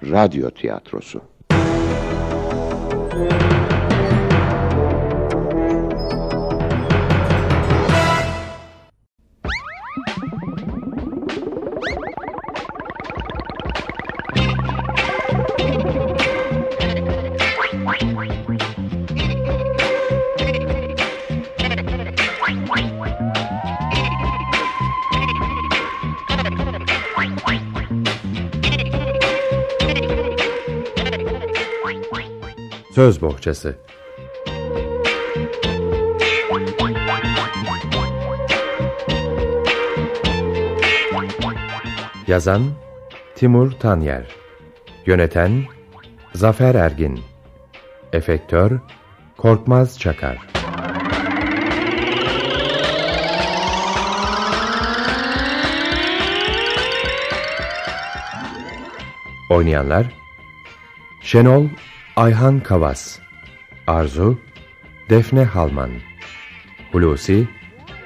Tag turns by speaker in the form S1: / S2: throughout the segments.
S1: Radyo tiyatrosu.
S2: Söz bohçası. Yazan Timur Tanyer Yöneten Zafer Ergin Efektör Korkmaz Çakar Oynayanlar Şenol Ayhan Kavas Arzu Defne Halman Hulusi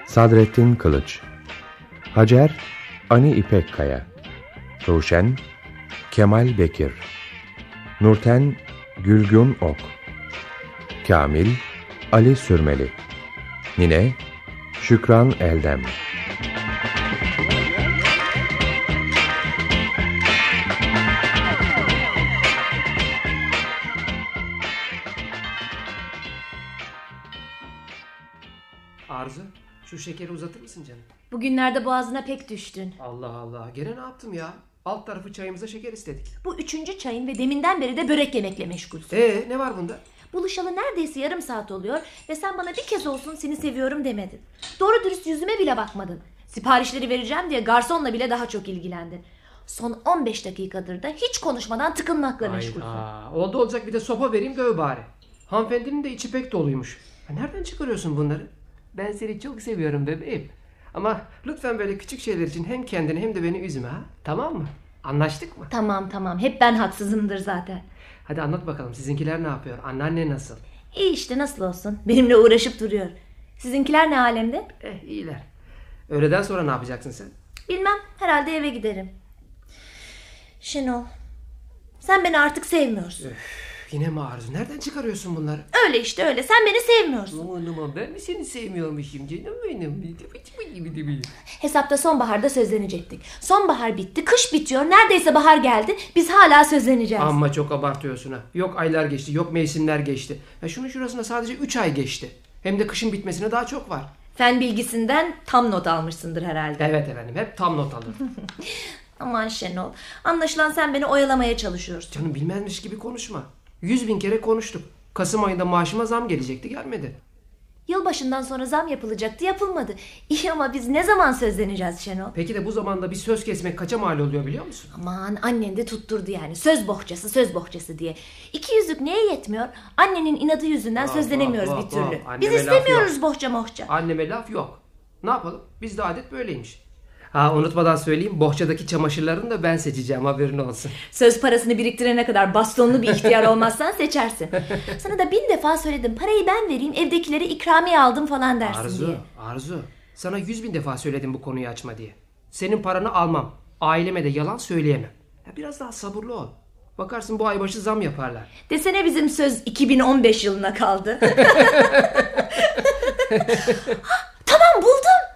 S2: Sadrettin Kılıç Hacer Ani İpekkaya Ruşen Kemal Bekir Nurten Gülgün Ok Kamil Ali Sürmeli Nine Şükran Eldem
S3: Arzu, şu şekeri uzatır mısın canım?
S4: Bugünlerde boğazına pek düştün.
S3: Allah Allah, gene ne yaptım ya? Alt tarafı çayımıza şeker istedik.
S4: Bu üçüncü çayın ve deminden beri de börek yemekle meşgulsün.
S3: Ee, ne var bunda?
S4: Buluşalı neredeyse yarım saat oluyor ve sen bana bir kez olsun seni seviyorum demedin. Doğru dürüst yüzüme bile bakmadın. Siparişleri vereceğim diye garsonla bile daha çok ilgilendin. Son 15 dakikadır da hiç konuşmadan tıkınmakla meşgulsün.
S3: Hayda, oldu olacak bir de sopa vereyim döv bari. Hanımefendinin de içi pek doluymuş. Ha, nereden çıkarıyorsun bunları? Ben seni çok seviyorum bebeğim. Ama lütfen böyle küçük şeyler için hem kendini hem de beni üzme ha. Tamam mı? Anlaştık mı?
S4: Tamam tamam hep ben haksızımdır zaten.
S3: Hadi anlat bakalım sizinkiler ne yapıyor? Anneanne nasıl?
S4: İyi işte nasıl olsun benimle uğraşıp duruyor. Sizinkiler ne alemde?
S3: Eh iyiler. Öğleden sonra ne yapacaksın sen?
S4: Bilmem herhalde eve giderim. Şenol sen beni artık sevmiyorsun.
S3: Yine mi Arzu? Nereden çıkarıyorsun bunları?
S4: Öyle işte öyle. Sen beni sevmiyorsun.
S3: Aman aman ben mi seni sevmiyormuşum canım benim?
S4: Hesapta sonbaharda sözlenecektik. Sonbahar bitti, kış bitiyor. Neredeyse bahar geldi. Biz hala sözleneceğiz.
S3: Amma çok abartıyorsun ha. Yok aylar geçti, yok mevsimler geçti. Ya şunun şurasına sadece 3 ay geçti. Hem de kışın bitmesine daha çok var.
S4: Fen bilgisinden tam not almışsındır herhalde.
S3: Evet efendim hep tam not alır.
S4: Aman Şenol. Anlaşılan sen beni oyalamaya çalışıyorsun.
S3: Canım bilmezmiş gibi konuşma. Yüz bin kere konuştuk. Kasım ayında maaşıma zam gelecekti gelmedi.
S4: Yılbaşından sonra zam yapılacaktı, yapılmadı. İyi ama biz ne zaman sözleneceğiz Şenol?
S3: Peki de bu zamanda bir söz kesmek kaça mal oluyor biliyor musun?
S4: Aman annen de tutturdu yani. Söz bohçası, söz bohçası diye. İki yüzlük neye yetmiyor? Annenin inadı yüzünden
S3: Vah,
S4: sözlenemiyoruz
S3: vah,
S4: bir
S3: vah,
S4: türlü.
S3: vah.
S4: Biz
S3: Anneme laf
S4: istemiyoruz bohça mohça.
S3: Anneme laf yok. Ne yapalım? Bizde adet böyleymiş. Ha unutmadan söyleyeyim bohçadaki çamaşırlarını da ben seçeceğim haberin olsun.
S4: Söz parasını biriktirene kadar bastonlu bir ihtiyar olmazsan seçersin. Sana da bin defa söyledim parayı ben vereyim evdekilere ikramiye aldım falan dersin
S3: Arzu,
S4: diye.
S3: Arzu. Sana yüz bin defa söyledim bu konuyu açma diye. Senin paranı almam. Aileme de yalan söyleyemem. Ya biraz daha sabırlı ol. Bakarsın bu ay başı zam yaparlar.
S4: Desene bizim söz 2015 yılına kaldı. Hah, tamam buldum.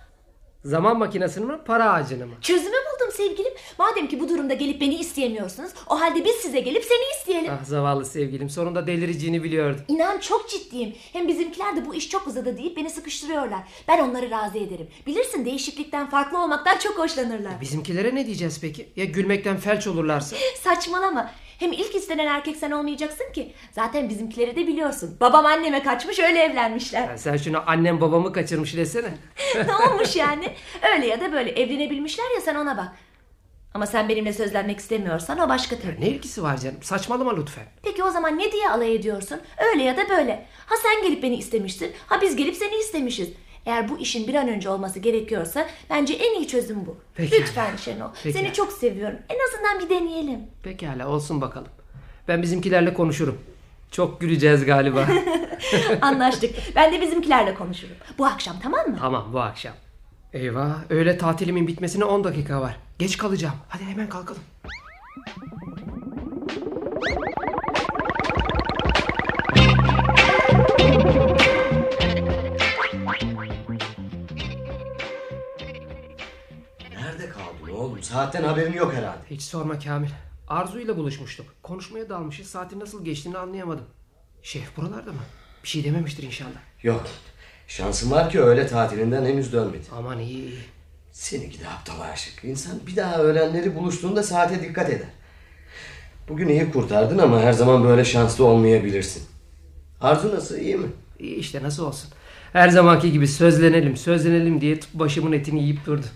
S3: Zaman makinesini mi, para ağacını mı?
S4: Çözümü buldum sevgilim. Madem ki bu durumda gelip beni isteyemiyorsunuz o halde biz size gelip seni isteyelim.
S3: Ah zavallı sevgilim, sonunda delireceğini biliyordum.
S4: İnan çok ciddiyim. Hem bizimkiler de bu iş çok uzadı deyip beni sıkıştırıyorlar. Ben onları razı ederim. Bilirsin değişiklikten, farklı olmaktan çok hoşlanırlar.
S3: E, Bizimkilere ne diyeceğiz peki? Ya gülmekten felç olurlarsa?
S4: Saçmalama. Hem ilk istenen erkek sen olmayacaksın ki. Zaten bizimkileri de biliyorsun. Babam anneme kaçmış öyle evlenmişler.
S3: Ya sen şuna annem babamı kaçırmış desene.
S4: ne olmuş yani? Öyle ya da böyle evlenebilmişler ya sen ona bak. Ama sen benimle sözlenmek istemiyorsan o başka türlü.
S3: Ne ilgisi var canım? Saçmalama lütfen.
S4: Peki o zaman ne diye alay ediyorsun? Öyle ya da böyle. Ha sen gelip beni istemişsin, ha biz gelip seni istemişiz. Eğer bu işin bir an önce olması gerekiyorsa bence en iyi çözüm bu.
S3: Peki.
S4: Lütfen Şenol.
S3: Peki.
S4: Seni çok seviyorum. En azından bir deneyelim.
S3: Pekala olsun bakalım. Ben bizimkilerle konuşurum. Çok güleceğiz galiba.
S4: Anlaştık. Ben de bizimkilerle konuşurum. Bu akşam tamam mı?
S3: Tamam bu akşam. Eyvah öğle tatilimin bitmesine 10 dakika var. Geç kalacağım. Hadi hemen kalkalım.
S1: Saatten haberin yok herhalde.
S3: Hiç sorma Kamil. Arzu ile buluşmuştuk. Konuşmaya dalmışız. Saatin nasıl geçtiğini anlayamadım. Şef buralarda mı? Bir şey dememiştir inşallah.
S1: Yok. Şansın var ki öğle tatilinden henüz dönmedi.
S3: Aman iyi iyi.
S1: Seni gidi aptal aşık. İnsan bir daha öğlenleri buluştuğunda saate dikkat eder. Bugün iyi kurtardın ama her zaman böyle şanslı olmayabilirsin. Arzu nasıl iyi mi?
S3: İyi işte nasıl olsun. Her zamanki gibi sözlenelim sözlenelim diye tıp başımın etini yiyip durdu.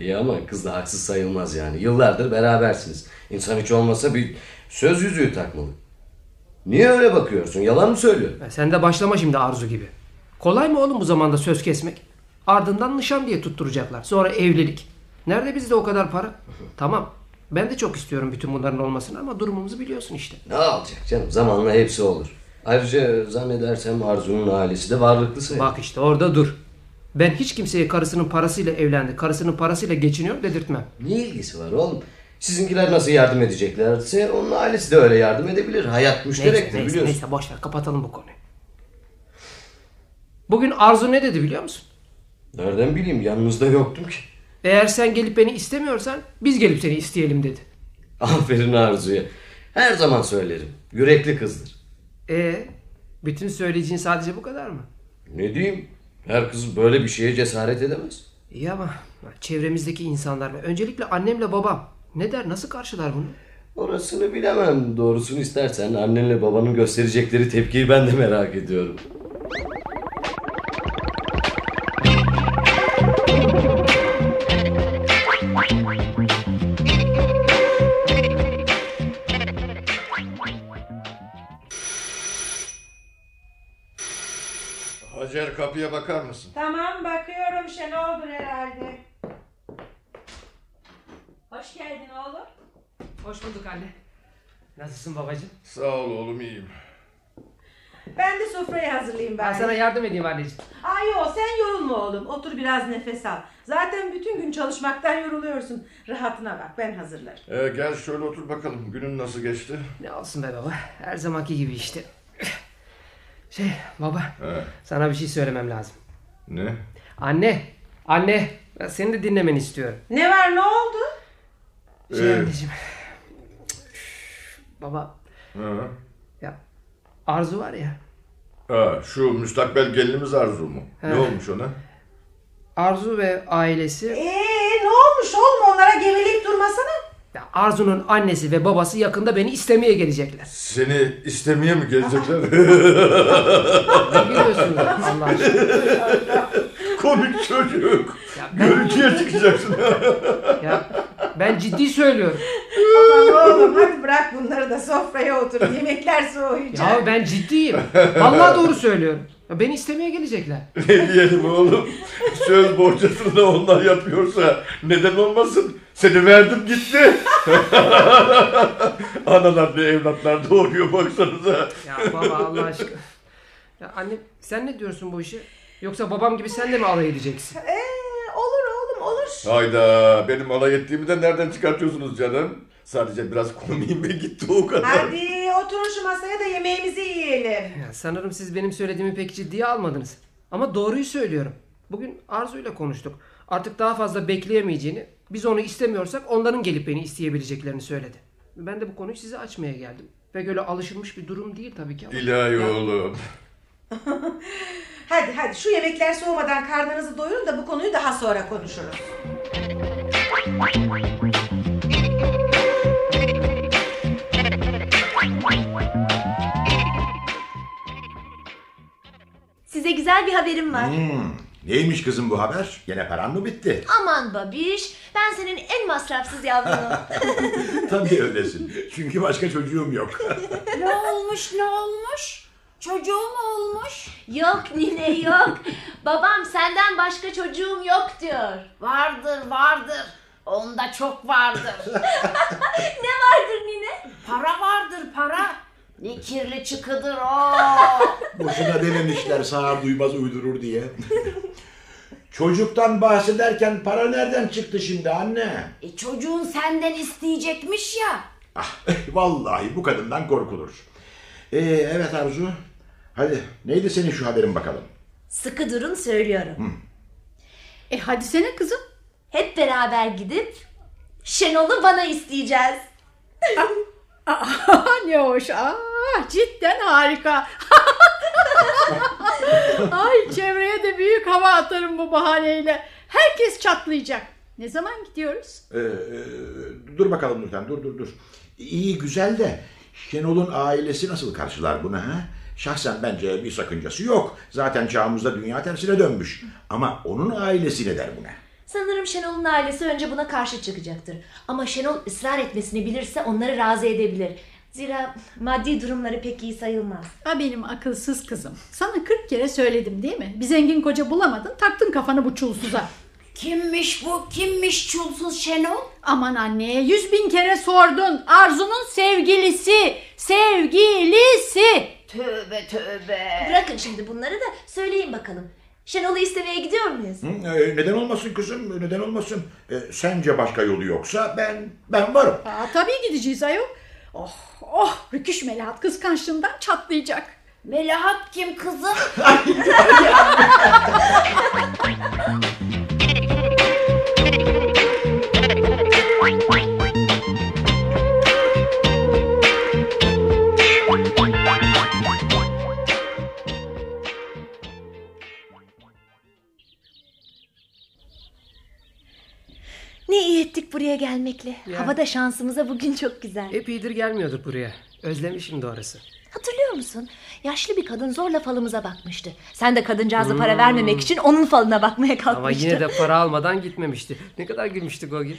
S1: İyi ama kız da haksız sayılmaz yani. Yıllardır berabersiniz. İnsan hiç olmasa bir söz yüzüğü takmalı. Niye öyle bakıyorsun? Yalan mı söylüyor?
S3: Ya E, Sen de başlama şimdi Arzu gibi. Kolay mı oğlum bu zamanda söz kesmek? Ardından nişan diye tutturacaklar. Sonra evlilik. Nerede bizde o kadar para? tamam. Ben de çok istiyorum bütün bunların olmasını ama durumumuzu biliyorsun işte.
S1: Ne olacak canım? Zamanla hepsi olur. Ayrıca zannedersem Arzu'nun ailesi de varlıklı sayılır.
S3: Bak işte orada dur. Ben hiç kimseye karısının parasıyla evlendi, karısının parasıyla geçiniyor dedirtmem.
S1: Ne ilgisi var oğlum? Sizinkiler nasıl yardım edeceklerse onun ailesi de öyle yardım edebilir. Hayat
S3: Neyse,
S1: müşterektir
S3: neyse,
S1: biliyorsun.
S3: neyse boş ver kapatalım bu konuyu. Bugün Arzu ne dedi biliyor musun?
S1: Nereden bileyim yanınızda yoktum ki.
S3: Eğer sen gelip beni istemiyorsan biz gelip seni isteyelim dedi.
S1: Aferin Arzu'ya. Her zaman söylerim. Yürekli kızdır.
S3: E bütün söyleyeceğin sadece bu kadar mı?
S1: Ne diyeyim? Her kız böyle bir şeye cesaret edemez.
S3: İyi ama çevremizdeki insanlar ve öncelikle annemle babam ne der nasıl karşılar bunu?
S1: Orasını bilemem. Doğrusunu istersen annenle babanın gösterecekleri tepkiyi ben de merak ediyorum.
S5: Hacer kapıya bakar mısın?
S6: Tamam bakıyorum Şenol'dur herhalde. Hoş geldin oğlum.
S3: Hoş bulduk anne. Nasılsın babacığım?
S5: Sağ ol oğlum iyiyim.
S6: Ben de sofrayı hazırlayayım
S3: Ben
S6: bari.
S3: sana yardım edeyim anneciğim.
S6: Ay yo sen yorulma oğlum. Otur biraz nefes al. Zaten bütün gün çalışmaktan yoruluyorsun. Rahatına bak ben hazırlarım.
S5: Ee, gel şöyle otur bakalım günün nasıl geçti?
S3: Ne olsun be baba her zamanki gibi işte. Şey baba
S5: He.
S3: sana bir şey söylemem lazım.
S5: Ne?
S3: Anne anne ben seni de dinlemeni istiyorum.
S6: Ne var ne oldu?
S3: Şey
S5: Ee.
S3: anneciğim. Baba
S5: Ha.
S3: ya Arzu var ya.
S5: Ha, şu müstakbel gelinimiz Arzu mu? Ne olmuş ona?
S3: Arzu ve ailesi
S6: Eee Ee, ne olmuş oğlum onlara geveleyip durmasana.
S3: ya Arzu'nun annesi ve babası yakında beni istemeye gelecekler.
S5: Seni istemeye mi gelecekler?
S3: Ne Biliyorsunuz Allah aşkına.
S5: Komik çocuk.
S3: Ya
S5: Gölgeye çıkacaksın.
S3: Ya ben ciddi söylüyorum.
S6: Aman oğlum hadi bırak bunları da sofraya otur. Yemekler soğuyacak.
S3: Ya ben ciddiyim. Allah doğru söylüyorum. Ya beni istemeye gelecekler.
S5: ne diyelim oğlum? Söz borcasını da onlar yapıyorsa neden olmasın? Seni verdim gitti. Analar ve evlatlar doğuruyor baksanıza.
S3: Ya baba Allah aşkına. Ya anne sen ne diyorsun bu işe? Yoksa babam gibi sen de mi alay edeceksin?
S6: Eee olur oğlum olur.
S5: Hayda benim alay ettiğimi de nereden çıkartıyorsunuz canım? Sadece biraz komiğime gitti o kadar.
S6: Hadi oturun şu masaya da yemeğimizi yiyelim.
S3: Ya sanırım siz benim söylediğimi pek ciddiye almadınız. Ama doğruyu söylüyorum. Bugün Arzu'yla konuştuk. Artık daha fazla bekleyemeyeceğini, biz onu istemiyorsak onların gelip beni isteyebileceklerini söyledi. Ben de bu konuyu size açmaya geldim. Ve böyle alışılmış bir durum değil tabii ki ama.
S5: İlahi oğlum.
S6: Hadi hadi şu yemekler soğumadan karnınızı doyurun da bu konuyu daha sonra konuşuruz.
S4: Size güzel bir haberim var.
S3: Hmm.
S7: Hmm, Neymiş kızım bu haber? Gene paran mı bitti?
S4: Aman babiş ben senin en masrafsız yavrunum.
S7: Tabii öylesin. Çünkü başka çocuğum yok.
S8: Ne olmuş ne olmuş? Çocuğum olmuş.
S4: yok nine yok. Babam senden başka çocuğum yok diyor.
S8: Vardır vardır. Onda çok vardır.
S4: Ne vardır nine?
S8: Para vardır para. Ne kirli çıkıdır o.
S7: Boşuna dememişler sağır duymaz uydurur diye. Çocuktan bahsederken para nereden çıktı şimdi anne?
S8: E, çocuğun senden isteyecekmiş ya.
S7: Ah, vallahi bu kadından korkulur. Ee, evet Arzu. Hadi neydi senin şu haberin bakalım?
S4: Sıkı durun söylüyorum.
S9: E hadi sene kızım.
S4: Hep beraber gidip Şenol'u bana isteyeceğiz.
S9: Aa, ne hoş. Aa, cidden harika. Ay çevreye de büyük hava atarım bu bahaneyle. Herkes çatlayacak. Ne zaman gidiyoruz?
S7: Ee, e, dur bakalım Nurten dur dur dur. İyi güzel de Şenol'un ailesi nasıl karşılar bunu ha? Şahsen bence bir sakıncası yok. Zaten çağımızda dünya tersine dönmüş. Ama onun ailesi ne der buna?
S4: Sanırım Şenol'un ailesi önce buna karşı çıkacaktır. Ama Şenol ısrar etmesini bilirse onları razı edebilir. Zira maddi durumları pek iyi sayılmaz.
S9: Ha benim akılsız kızım. Sana 40 kere söyledim değil mi? Bir zengin koca bulamadın taktın kafanı bu çulsuza.
S8: Kimmiş bu? Kimmiş çulsuz Şenol?
S9: Aman anne yüz bin kere sordun. Arzu'nun sevgilisi. Sevgilisi.
S8: Tövbe tövbe.
S4: Bırakın şimdi bunları da söyleyin bakalım. Şenol'u istemeye gidiyor muyuz?
S7: Hı, e, neden olmasın kızım? Neden olmasın? E, sence başka yolu yoksa ben ben varım.
S9: Aa, tabii gideceğiz ayol. Oh oh rüküş melahat kıskançlığından çatlayacak.
S8: Melahat kim kızım?
S4: Ne iyi ettik buraya gelmekle. Hava da şansımıza bugün çok güzel.
S3: Epeydir gelmiyorduk buraya. Özlemişim doğrusu.
S4: Hatırlıyor musun? Yaşlı bir kadın zorla falımıza bakmıştı. Sen de kadıncağıza para vermemek için onun falına bakmaya
S3: Hmm. Ama
S4: kalkmıştın.
S3: yine de para almadan gitmemişti. Ne kadar gülmüştük o gün.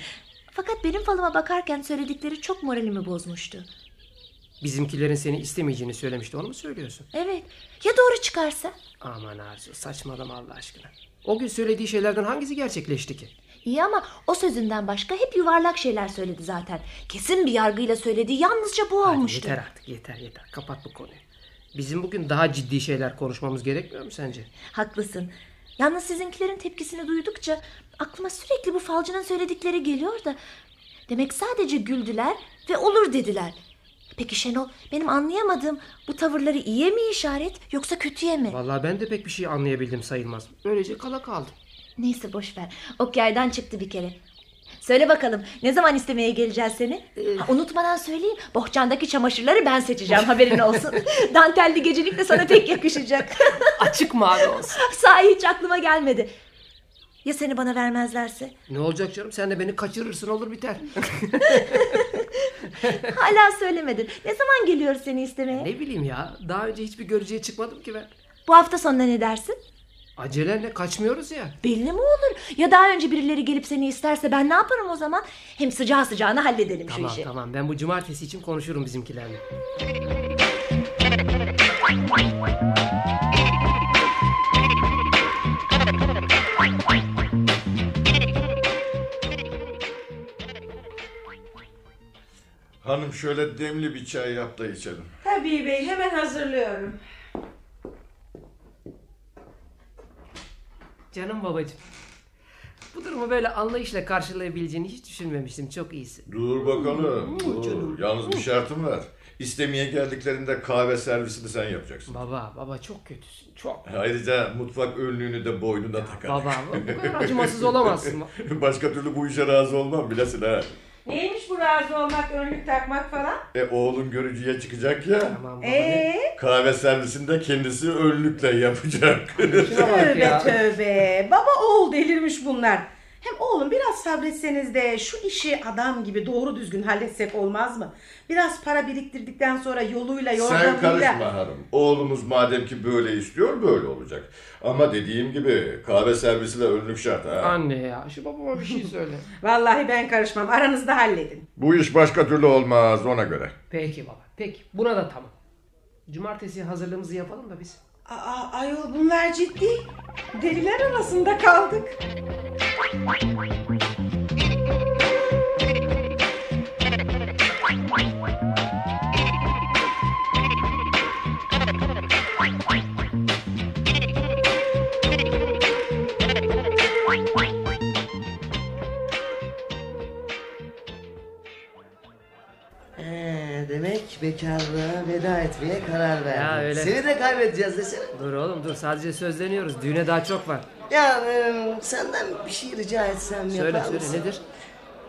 S4: Fakat benim falıma bakarken söyledikleri çok moralimi bozmuştu.
S3: Bizimkilerin seni istemeyeceğini söylemişti. Onu mu söylüyorsun?
S4: Evet. Ya doğru çıkarsa?
S3: Aman Arzu saçmalama Allah aşkına. O gün söylediği şeylerden hangisi gerçekleşti ki?
S4: İyi ama o sözünden başka hep yuvarlak şeyler söyledi zaten. Kesin bir yargıyla söylediği yalnızca bu
S3: Hadi
S4: olmuştu.
S3: yeter artık yeter yeter. Kapat bu konuyu. Bizim bugün daha ciddi şeyler konuşmamız gerekmiyor mu sence?
S4: Haklısın. Yalnız sizinkilerin tepkisini duydukça aklıma sürekli bu falcının söyledikleri geliyor da... Demek sadece güldüler ve olur dediler. Peki Şenol benim anlayamadığım bu tavırları iyiye mi işaret yoksa kötüye mi?
S3: Vallahi ben de pek bir şey anlayabildim sayılmaz. Böylece kala kaldım.
S4: Neyse boş ver. Ok yaydan çıktı bir kere. Söyle bakalım ne zaman istemeye geleceğiz seni?
S3: Ee,
S4: Ha, unutmadan söyleyeyim. Bohçandaki çamaşırları ben seçeceğim haberin olsun. Dantelli gecelik de sana pek yakışacak.
S3: Açık mavi olsun.
S4: Sahi hiç aklıma gelmedi. Ya seni bana vermezlerse?
S3: Ne olacak canım sen de beni kaçırırsın olur biter.
S4: Hala söylemedin. Ne zaman geliyoruz seni istemeye?
S3: ne bileyim ya daha önce hiçbir görücüye çıkmadım ki ben.
S4: Bu hafta sonuna ne dersin?
S3: Acelenle kaçmıyoruz ya.
S4: Belli mi olur? Ya daha önce birileri gelip seni isterse ben ne yaparım o zaman? Hem sıcağı sıcağına halledelim
S3: Tamam
S4: şu işi.
S3: tamam ben bu cumartesi için konuşurum bizimkilerle.
S5: Hanım şöyle demli bir çay yap da içelim.
S6: Tabii bey hemen hazırlıyorum.
S3: Canım babacığım. Bu durumu böyle anlayışla karşılayabileceğini hiç düşünmemiştim. Çok iyisin.
S5: Dur bakalım. Dur. Yalnız bir şartım var. İstemeye geldiklerinde kahve servisini sen yapacaksın.
S3: Baba baba çok kötüsün. Çok.
S5: Ayrıca mutfak önlüğünü de boynuna
S3: Baba
S5: takarak.
S3: bu kadar acımasız olamazsın.
S5: Başka türlü bu işe razı olmam bilesin ha.
S6: Neymiş bu razı olmak, önlük takmak falan?
S5: E oğlum görücüye çıkacak ya.
S3: Tamam baba.
S6: Eee
S5: Kahve servisinde kendisi önlükle yapacak.
S3: Şuna bak
S6: tövbe
S3: ya.
S6: tövbe. Baba oğul delirmiş bunlar. Hem oğlum biraz sabretseniz de şu işi adam gibi doğru düzgün halletsek olmaz mı? Biraz para biriktirdikten sonra yoluyla
S5: Sen
S6: yordamıyla.
S5: karışma hanım. Oğlumuz madem ki böyle istiyor böyle olacak. Ama dediğim gibi kahve servisi de önlük şart ha.
S3: Anne ya şu babama bir şey söyle.
S6: Vallahi ben karışmam. Aranızda halledin.
S5: Bu iş başka türlü olmaz ona göre.
S3: peki baba peki buna da tamam. Cumartesi hazırlığımızı yapalım da biz.
S6: Aa, ayol bunlar ciddi. Deliler arasında kaldık.
S1: Ee, demek bekarlığa veda etmeye karar verdin.
S3: Ya öyle.
S1: Seni de kaybedeceğiz desene.
S3: Dur oğlum dur sadece sözleniyoruz. Düğüne daha çok var.
S1: Ya e, senden bir şey rica etsem
S3: Söyle
S1: yapar
S3: söyle
S1: mısın?
S3: nedir?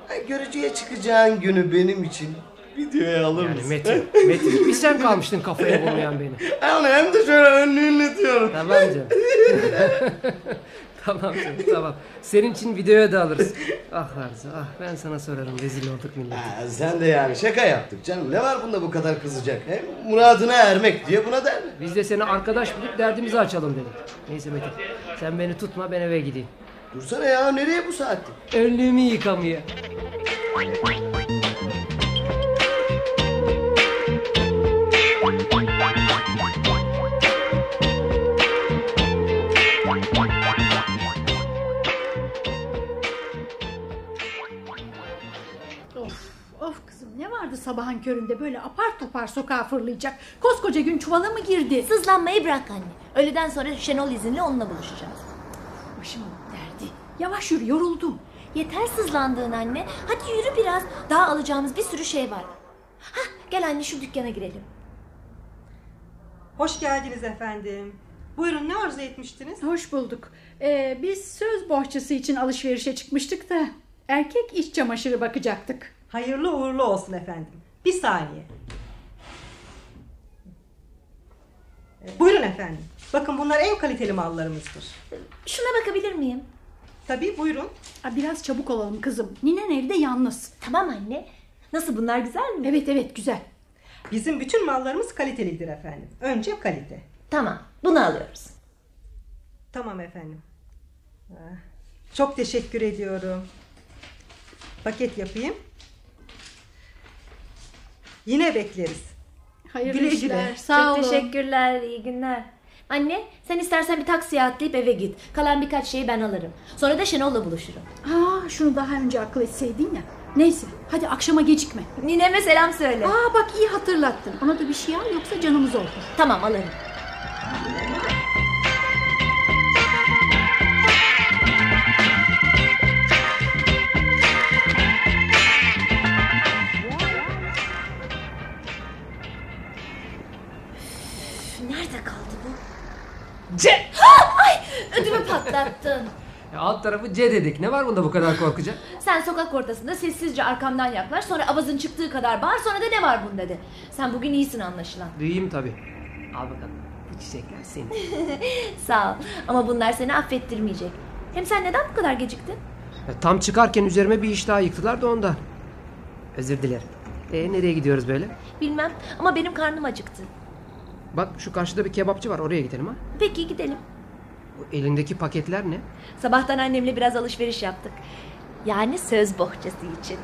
S1: Ha, Görücüye çıkacağın günü benim için videoya alır
S3: Yani
S1: mısın?
S3: Metin, Metin bir sen kalmıştın kafaya bulmayan beni.
S1: Ha, onu hem de şöyle önlüğünle diyorum.
S3: Tamam canım. tamam canım tamam. Senin için videoya da alırız. Ah Arzu ah ben sana sorarım rezil olduk millet.
S1: Ha, sen de yani şaka yaptık canım. Ne var bunda bu kadar kızacak? Hem muradına ermek diye buna der mi?
S3: Biz de seni arkadaş bulup derdimizi açalım dedik. Neyse Metin sen beni tutma ben eve gideyim.
S1: Dursana ya nereye bu saatte?
S3: Önlüğümü yıkamaya.
S9: Of, of kızım ne vardı sabahın köründe böyle apar topar sokağa fırlayacak. Koskoca gün çuvala mı girdi?
S4: Sızlanmayı bırak anne. Öğleden sonra Şenol izinle onunla buluşacağız.
S9: Başımın derdi. Yavaş yürü yoruldum.
S4: Yeter sızlandığın anne. Hadi yürü biraz. Daha alacağımız bir sürü şey var. Hah, gel anne şu dükkana girelim.
S10: Hoş geldiniz efendim. Buyurun ne arzu etmiştiniz?
S9: Hoş bulduk. Ee, biz söz bohçası için alışverişe çıkmıştık da erkek iç çamaşırı bakacaktık.
S10: Hayırlı uğurlu olsun efendim. Bir saniye. Ee, Buyurun efendim. Bakın bunlar en kaliteli mallarımızdır.
S4: Şuna bakabilir miyim?
S10: Tabii buyurun.
S9: Aa, biraz çabuk olalım kızım. Ninen evde yalnız.
S4: Tamam anne. Nasıl bunlar güzel mi?
S9: Evet evet güzel.
S10: Bizim bütün mallarımız kalitelidir efendim. Önce kalite.
S4: Tamam. Bunu alıyoruz.
S10: Tamam efendim. Ah, Çok teşekkür ediyorum. Paket yapayım. Yine bekleriz.
S9: Hayırlı
S10: Güle güle.
S9: işler. Sağ
S4: Çok
S9: olun.
S4: teşekkürler. iyi günler. Anne sen istersen bir taksiye atlayıp eve git. Kalan birkaç şeyi ben alırım. Sonra da Şenol'la buluşurum.
S9: Aa, şunu daha önce akıl etseydin ya. Neyse hadi akşama gecikme.
S4: Nineme selam söyle.
S9: Aa bak iyi hatırlattın. Ona da bir şey al yoksa canımız okur.
S4: Tamam alırım. Üf, Nerede kaldı bu?
S3: C!
S4: Ay ödümü patlattın.
S3: Ya alt tarafı C dedik. Ne var bunda bu kadar korkacak?
S4: Sen sokak ortasında sessizce arkamdan yaklaş sonra avazın çıktığı kadar bağır sonra da ne var bunda de. Sen bugün iyisin anlaşılan.
S3: Duyayım tabii. Al bakalım. Bu çiçekler senin.
S4: Sağ ol ama bunlar seni affettirmeyecek. Hem sen neden bu kadar geciktin?
S3: Ya tam çıkarken üzerime bir iş daha yıktılar da ondan. Özür dilerim. E nereye gidiyoruz böyle?
S4: Bilmem ama benim karnım acıktı.
S3: Bak şu karşıda bir kebapçı var oraya gidelim ha.
S4: Peki gidelim.
S3: Bu elindeki paketler ne?
S4: Sabahtan annemle biraz alışveriş yaptık. Yani söz bohçası için.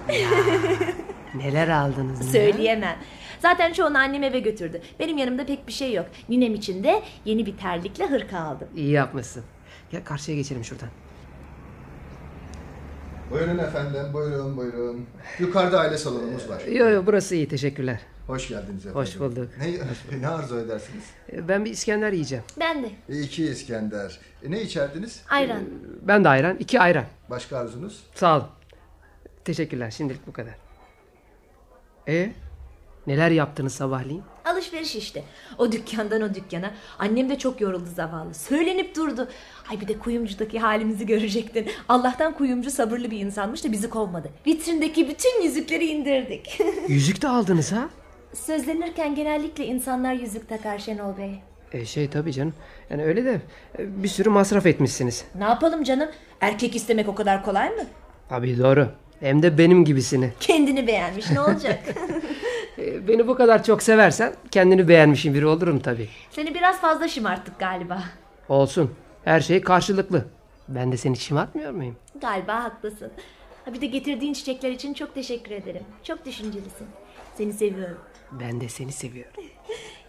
S3: Neler aldınız? neler?
S4: Söyleyemem. Zaten çoğunu annem eve götürdü. Benim yanımda pek bir şey yok. Ninem için de yeni bir terlikle hırka aldım.
S3: İyi yapmışsın. Gel karşıya geçelim şuradan.
S11: Buyurun efendim, buyurun buyurun. Yukarıda aile salonumuz var.
S3: Yo yo burası iyi teşekkürler.
S11: Hoş geldiniz efendim.
S3: Hoş bulduk.
S11: Ne, ne arzu edersiniz?
S3: E, Ben bir İskender yiyeceğim.
S4: Ben de.
S11: İki İskender. E, Ne içerdiniz?
S4: Ayran.
S3: Ee, Ben de ayran. iki ayran.
S11: Başka arzunuz?
S3: Sağ olun. Teşekkürler şimdilik bu kadar. E neler yaptınız sabahleyin?
S4: Alışveriş işte. O dükkandan o dükkana. Annem de çok yoruldu zavallı. Söylenip durdu. Ay bir de kuyumcudaki halimizi görecektin. Allah'tan kuyumcu sabırlı bir insanmış da bizi kovmadı. Vitrindeki bütün yüzükleri indirdik.
S3: Yüzük de aldınız ha?
S4: Sözlenirken genellikle insanlar yüzük takar Şenol Bey.
S3: E, şey tabii canım. Yani öyle de e, bir sürü masraf etmişsiniz.
S4: Ne yapalım canım? Erkek istemek o kadar kolay mı?
S3: Tabii doğru. Hem de benim gibisini.
S4: Kendini beğenmiş ne olacak?
S3: E, Beni bu kadar çok seversen kendini beğenmişim biri olurum tabii.
S4: Seni biraz fazla şımarttık galiba.
S3: Olsun. Her şey karşılıklı. Ben de seni şımartmıyor muyum?
S4: Galiba haklısın. Ha bir de getirdiğin çiçekler için çok teşekkür ederim. Çok düşüncelisin. Seni seviyorum.
S3: Ben de seni seviyorum.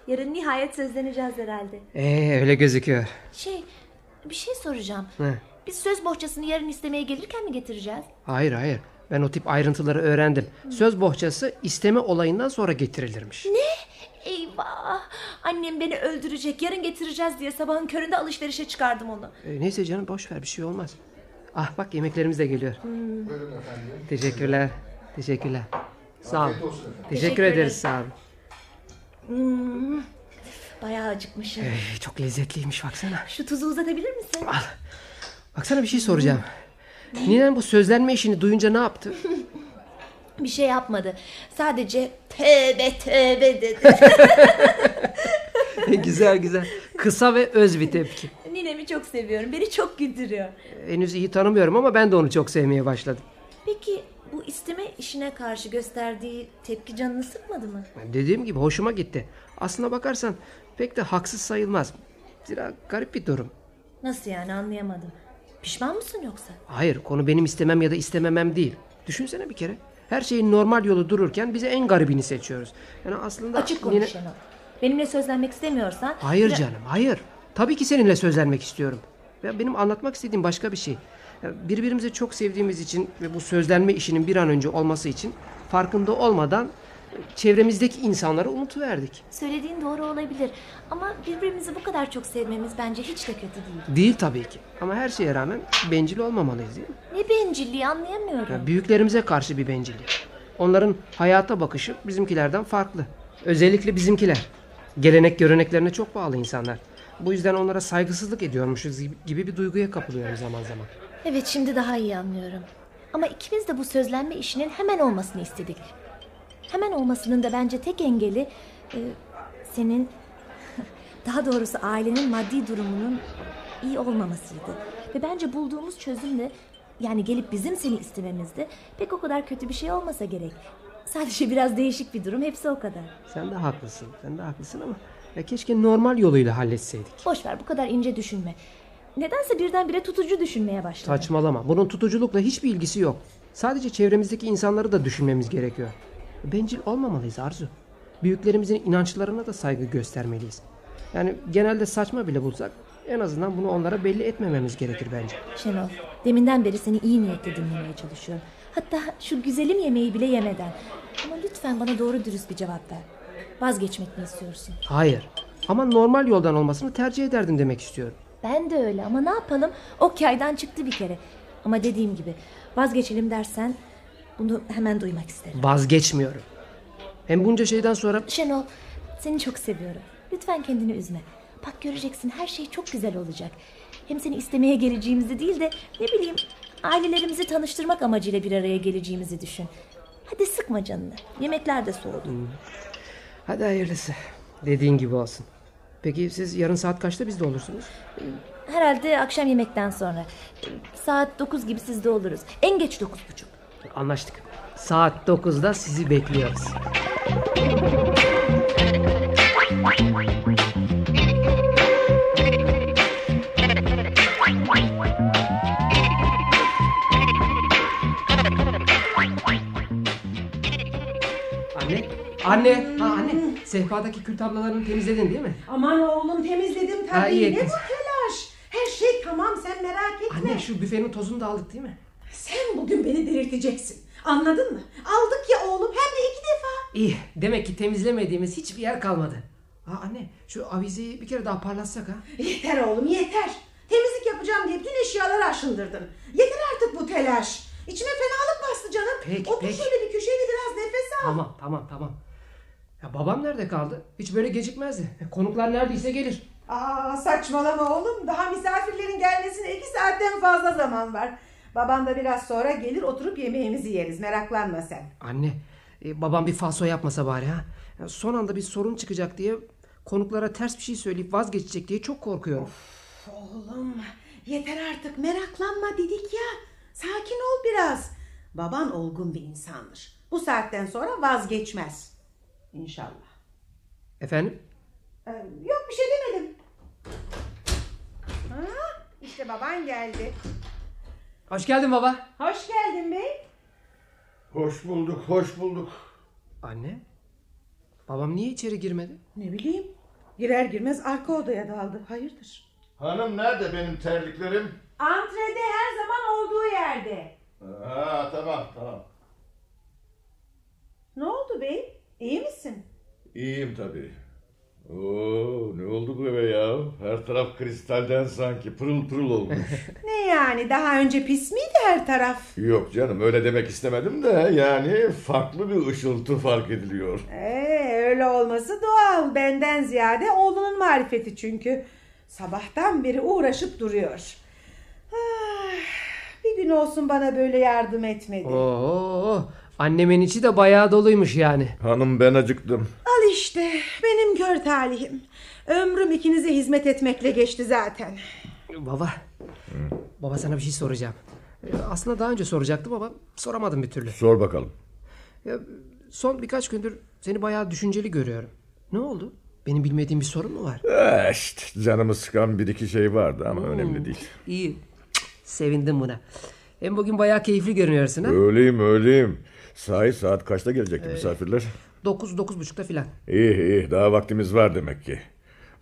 S4: Yarın nihayet sözleneceğiz herhalde.
S3: Ee öyle gözüküyor.
S4: Şey, bir şey soracağım.
S3: Hı.
S4: Biz söz bohçasını yarın istemeye gelirken mi getireceğiz?
S3: Hayır hayır. Ben o tip ayrıntıları öğrendim. Söz bohçası isteme olayından sonra getirilirmiş.
S4: Eyvah! Annem beni öldürecek. Yarın getireceğiz diye sabahın köründe alışverişe çıkardım onu.
S3: Ee, neyse canım boş ver bir şey olmaz. Ah bak yemeklerimiz de geliyor.
S4: Hmm.
S11: Buyurun efendim.
S3: Teşekkürler. Teşekkürler. Sağ olun.
S11: Afiyet olsun efendim.
S3: Teşekkür ederiz sağ olun.
S4: Hmm. Bayağı acıkmışım.
S3: Ee, çok lezzetliymiş baksana.
S4: Şu tuzu uzatabilir misin?
S3: Baksana bir şey soracağım. Ninen bu sözlenme işini duyunca ne yaptı?
S4: Bir şey yapmadı. Sadece tövbe tövbe dedi.
S3: güzel güzel. Kısa ve öz bir tepki.
S4: Ninemi çok seviyorum. Beni çok güldürüyor.
S3: Henüz iyi tanımıyorum ama ben de onu çok sevmeye başladım.
S4: Peki bu isteme işine karşı gösterdiği tepki canını sıkmadı mı?
S3: Dediğim gibi hoşuma gitti. Aslına bakarsan pek de haksız sayılmaz. Zira garip bir durum.
S4: Nasıl yani anlayamadım. Pişman mısın yoksa?
S3: Hayır konu benim istemem ya da istememem değil. Düşünsene bir kere. Her şeyin normal yolu dururken bize en garibini seçiyoruz. Yani aslında...
S4: Açık
S3: yine-
S4: konuş Şenol. Benimle sözlenmek istemiyorsan...
S3: Hayır
S4: Yine-
S3: canım hayır. Tabii ki seninle sözlenmek istiyorum. Ya benim anlatmak istediğim başka bir şey. Ya Birbirimizi çok sevdiğimiz için ve bu sözlenme işinin bir an önce olması için farkında olmadan e, çevremizdeki insanları unutuverdik.
S4: Söylediğin doğru olabilir. Ama birbirimizi bu kadar çok sevmemiz bence hiç de kötü değil.
S3: Değil tabii ki. Ama her şeye rağmen bencil olmamalıyız değil mi?
S4: Ne bencilliği anlayamıyorum.
S3: Ya büyüklerimize karşı bir bencillik. Onların hayata bakışı bizimkilerden farklı. Özellikle bizimkiler. Gelenek göreneklerine çok bağlı insanlar. Bu yüzden onlara saygısızlık ediyormuşuz gibi- gibi bir duyguya kapılıyorum zaman zaman.
S4: Evet şimdi daha iyi anlıyorum. Ama ikimiz de bu sözlenme işinin hemen olmasını istedik. Hemen olmasının da bence tek engeli e, senin daha doğrusu ailenin maddi durumunun iyi olmamasıydı. Ve bence bulduğumuz çözüm de yani gelip bizim seni istememizdi pek o kadar kötü bir şey olmasa gerek. Sadece biraz değişik bir durum hepsi o kadar.
S3: Sen de haklısın. Sen de haklısın ama ya keşke normal yoluyla halletseydik.
S4: Boş ver bu kadar ince düşünme. Nedense birdenbire tutucu düşünmeye başladım.
S3: Saçmalama. Bunun tutuculukla hiçbir ilgisi yok. Sadece çevremizdeki insanları da düşünmemiz gerekiyor. Bencil olmamalıyız Arzu. Büyüklerimizin inançlarına da saygı göstermeliyiz. Yani genelde saçma bile bulsak en azından bunu onlara belli etmememiz gerekir bence.
S4: Şenol, deminden beri seni iyi niyetle dinlemeye çalışıyorum. Hatta şu güzelim yemeği bile yemeden. Ama lütfen bana doğru dürüst bir cevap ver. Vazgeçmek mi istiyorsun?
S3: Hayır. Ama normal yoldan olmasını tercih ederdim demek istiyorum.
S4: Ben de öyle ama ne yapalım? O kaydan çıktı bir kere. Ama dediğim gibi vazgeçelim dersen bunu hemen duymak isterim.
S3: Vazgeçmiyorum. Hem bunca şeyden sonra...
S4: Şenol, seni çok seviyorum. Lütfen kendini üzme. Bak göreceksin her şey çok güzel olacak. Hem seni istemeye geleceğimizi değil de ne bileyim ailelerimizi tanıştırmak amacıyla bir araya geleceğimizi düşün. Hadi sıkma canını. Yemekler de soğudu.
S3: Hmm. Hadi hayırlısı. Dediğin gibi olsun. Peki siz yarın saat kaçta bizde olursunuz?
S4: Ee, Herhalde akşam yemekten sonra. Saat 9 gibi sizde oluruz. En geç 9.30.
S3: Anlaştık. Saat 9'da sizi bekliyoruz. Anne, anne, ha anne. Sehpadaki kül tablalarını temizledin değil mi?
S6: Aman oğlum temizledim
S3: Ha, iyi
S6: tabii. Ne bu
S3: ettiniz.
S6: telaş? Her şey tamam sen merak etme.
S3: Anne şu büfenin tozunu da aldık değil mi?
S6: Sen bugün beni delirteceksin. Anladın mı? Aldık ya oğlum hem de iki defa.
S3: İyi, demek ki temizlemediğimiz hiçbir yer kalmadı. Ha anne, şu avizeyi bir kere daha parlatsak ha.
S6: Yeter oğlum yeter. Temizlik yapacağım diye bütün eşyaları aşındırdın. Yeter artık bu telaş. İçime fenalık bastı canım.
S3: Peki,
S6: Otur
S3: peki.
S6: şöyle bir köşeye de biraz nefes al.
S3: Tamam tamam tamam. Ya babam nerede kaldı? Hiç böyle gecikmezdi. Konuklar neredeyse gelir.
S6: Aa saçmalama oğlum. Daha misafirlerin gelmesine iki saatten fazla zaman var. Baban da biraz sonra gelir oturup yemeğimizi yeriz. Meraklanma sen.
S3: Anne e, babam bir falso yapmasa bari ha. Ya son anda bir sorun çıkacak diye konuklara ters bir şey söyleyip vazgeçecek diye çok korkuyorum.
S6: Oğlum yeter artık meraklanma dedik ya. Sakin ol biraz. Baban olgun bir insandır. Bu saatten sonra vazgeçmez. İnşallah.
S3: Efendim?
S6: Ee, yok bir şey demedim. Ha, işte baban geldi.
S3: Hoş geldin baba.
S6: Hoş geldin bey.
S5: Hoş bulduk, hoş bulduk.
S3: Anne? Babam niye içeri girmedi?
S6: Ne bileyim. Girer girmez arka odaya daldı. Hayırdır?
S5: Hanım nerede benim terliklerim?
S6: Antrede her zaman olduğu yerde.
S5: Ha tamam tamam.
S6: Ne oldu bey? İyi misin?
S5: İyiyim tabii. Oo ne oldu bu eve ya? Her taraf kristalden sanki pırıl pırıl olmuş.
S6: Ne yani daha önce pis miydi her taraf?
S5: Yok canım öyle demek istemedim de yani farklı bir ışıltı fark ediliyor.
S6: Ee, öyle olması doğal. Benden ziyade oğlunun marifeti çünkü. Sabahtan beri uğraşıp duruyor.
S3: Oh.
S6: Ah, bir gün olsun bana böyle yardım etmedi.
S3: Oo, Annemin içi de bayağı doluymuş yani.
S5: Hanım ben acıktım.
S6: Al işte benim kör talihim. Ömrüm ikinize hizmet etmekle geçti zaten.
S3: Baba. Baba sana bir şey soracağım. Ee, Aslında daha önce soracaktım ama soramadım bir türlü.
S5: Sor bakalım.
S3: Ya, son birkaç gündür seni bayağı düşünceli görüyorum. Ne oldu? Benim bilmediğim bir sorun mu var?
S5: Eh, işte canımı sıkan bir iki şey vardı
S3: Hmm.
S5: ama önemli değil.
S3: İyi. Cık, Sevindim buna. Hem bugün bayağı keyifli görünüyorsun ha?
S5: Öyleyim öyleyim. Sahi saat kaçta gelecekti misafirler?
S3: 9 buçukta filan.
S5: İyi iyi daha vaktimiz var demek ki.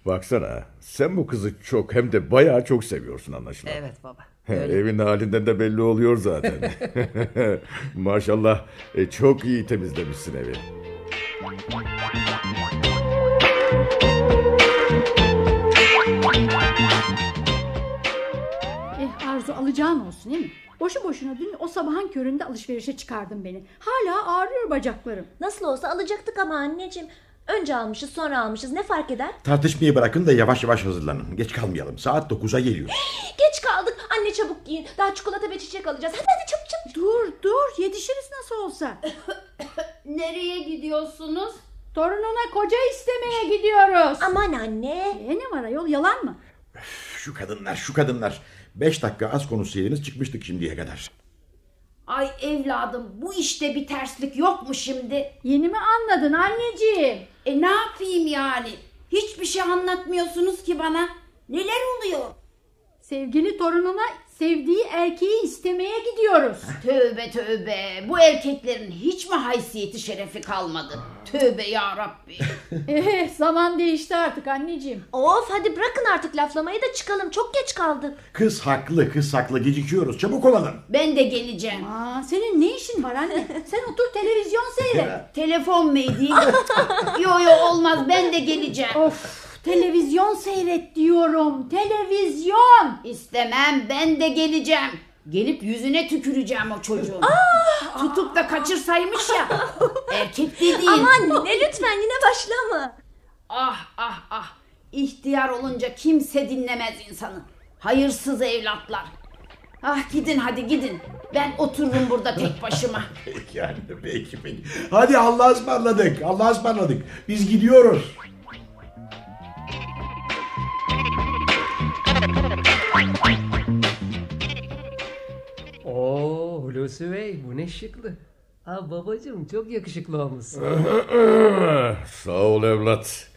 S5: Baksana sen bu kızı çok hem de bayağı çok seviyorsun anlaşılan.
S3: Evet baba.
S5: Evin halinden de belli oluyor zaten. Maşallah e, çok iyi temizlemişsin evi.
S9: Eh Arzu alacağın olsun değil mi? Boşu boşuna dün o sabahın köründe alışverişe çıkardın beni. Hala ağrıyor bacaklarım.
S4: Nasıl olsa alacaktık ama anneciğim. Önce almışız sonra almışız ne fark eder?
S7: Tartışmayı bırakın da yavaş yavaş hazırlanın. Geç kalmayalım. Saat 9'a geliyor.
S4: E, Geç kaldık. Anne çabuk giyin. Daha çikolata ve çiçek alacağız. Hadi hadi çabuk çabuk.
S9: Dur dur yetişiriz nasıl olsa.
S8: Nereye gidiyorsunuz?
S9: Torununa koca istemeye gidiyoruz.
S4: Aman anne.
S9: E ne var ayol yalan mı?
S7: Şu kadınlar, şu kadınlar. Beş dakika az konuşsaydınız çıkmıştık şimdiye kadar.
S8: Ay evladım bu işte bir terslik yok mu şimdi?
S9: Yeni mi anladın anneciğim?
S8: E ne yapayım yani? Hiçbir şey anlatmıyorsunuz ki bana. Neler oluyor?
S9: Sevgili torununa sevdiği erkeği istemeye gidiyoruz.
S8: Tövbe tövbe. Bu erkeklerin hiç mi haysiyeti şerefi kalmadı? Tövbe ya Rabbi.
S9: Eh, zaman değişti artık anneciğim.
S4: Of hadi bırakın artık laflamayı da çıkalım. Çok geç kaldık.
S7: Kız haklı, kız haklı. Gecikiyoruz. Çabuk olalım.
S8: Ben de geleceğim.
S9: Aa, senin ne işin var anne? Sen otur televizyon seyret.
S8: Telefon meydi. yo yo olmaz ben de geleceğim.
S9: Of televizyon seyret diyorum. Televizyon.
S8: İstemem ben de geleceğim. Gelip yüzüne tüküreceğim o çocuğun.
S9: Ah!
S8: Tutup da kaçırsaymış ya. Erkek dediğin.
S4: Aman anne lütfen yine başlama.
S8: Ah ah ah. İhtiyar olunca kimse dinlemez insanı. Hayırsız evlatlar. Ah gidin hadi gidin. Ben otururum burada tek başıma.
S7: Yani peki peki. Hadi Allah'a ısmarladık. Allah'a ısmarladık. Biz gidiyoruz.
S3: Oo Hulusi Bey bu ne şıklı. Aa babacığım çok yakışıklı olmuşsun.
S5: Sağ ol evlat.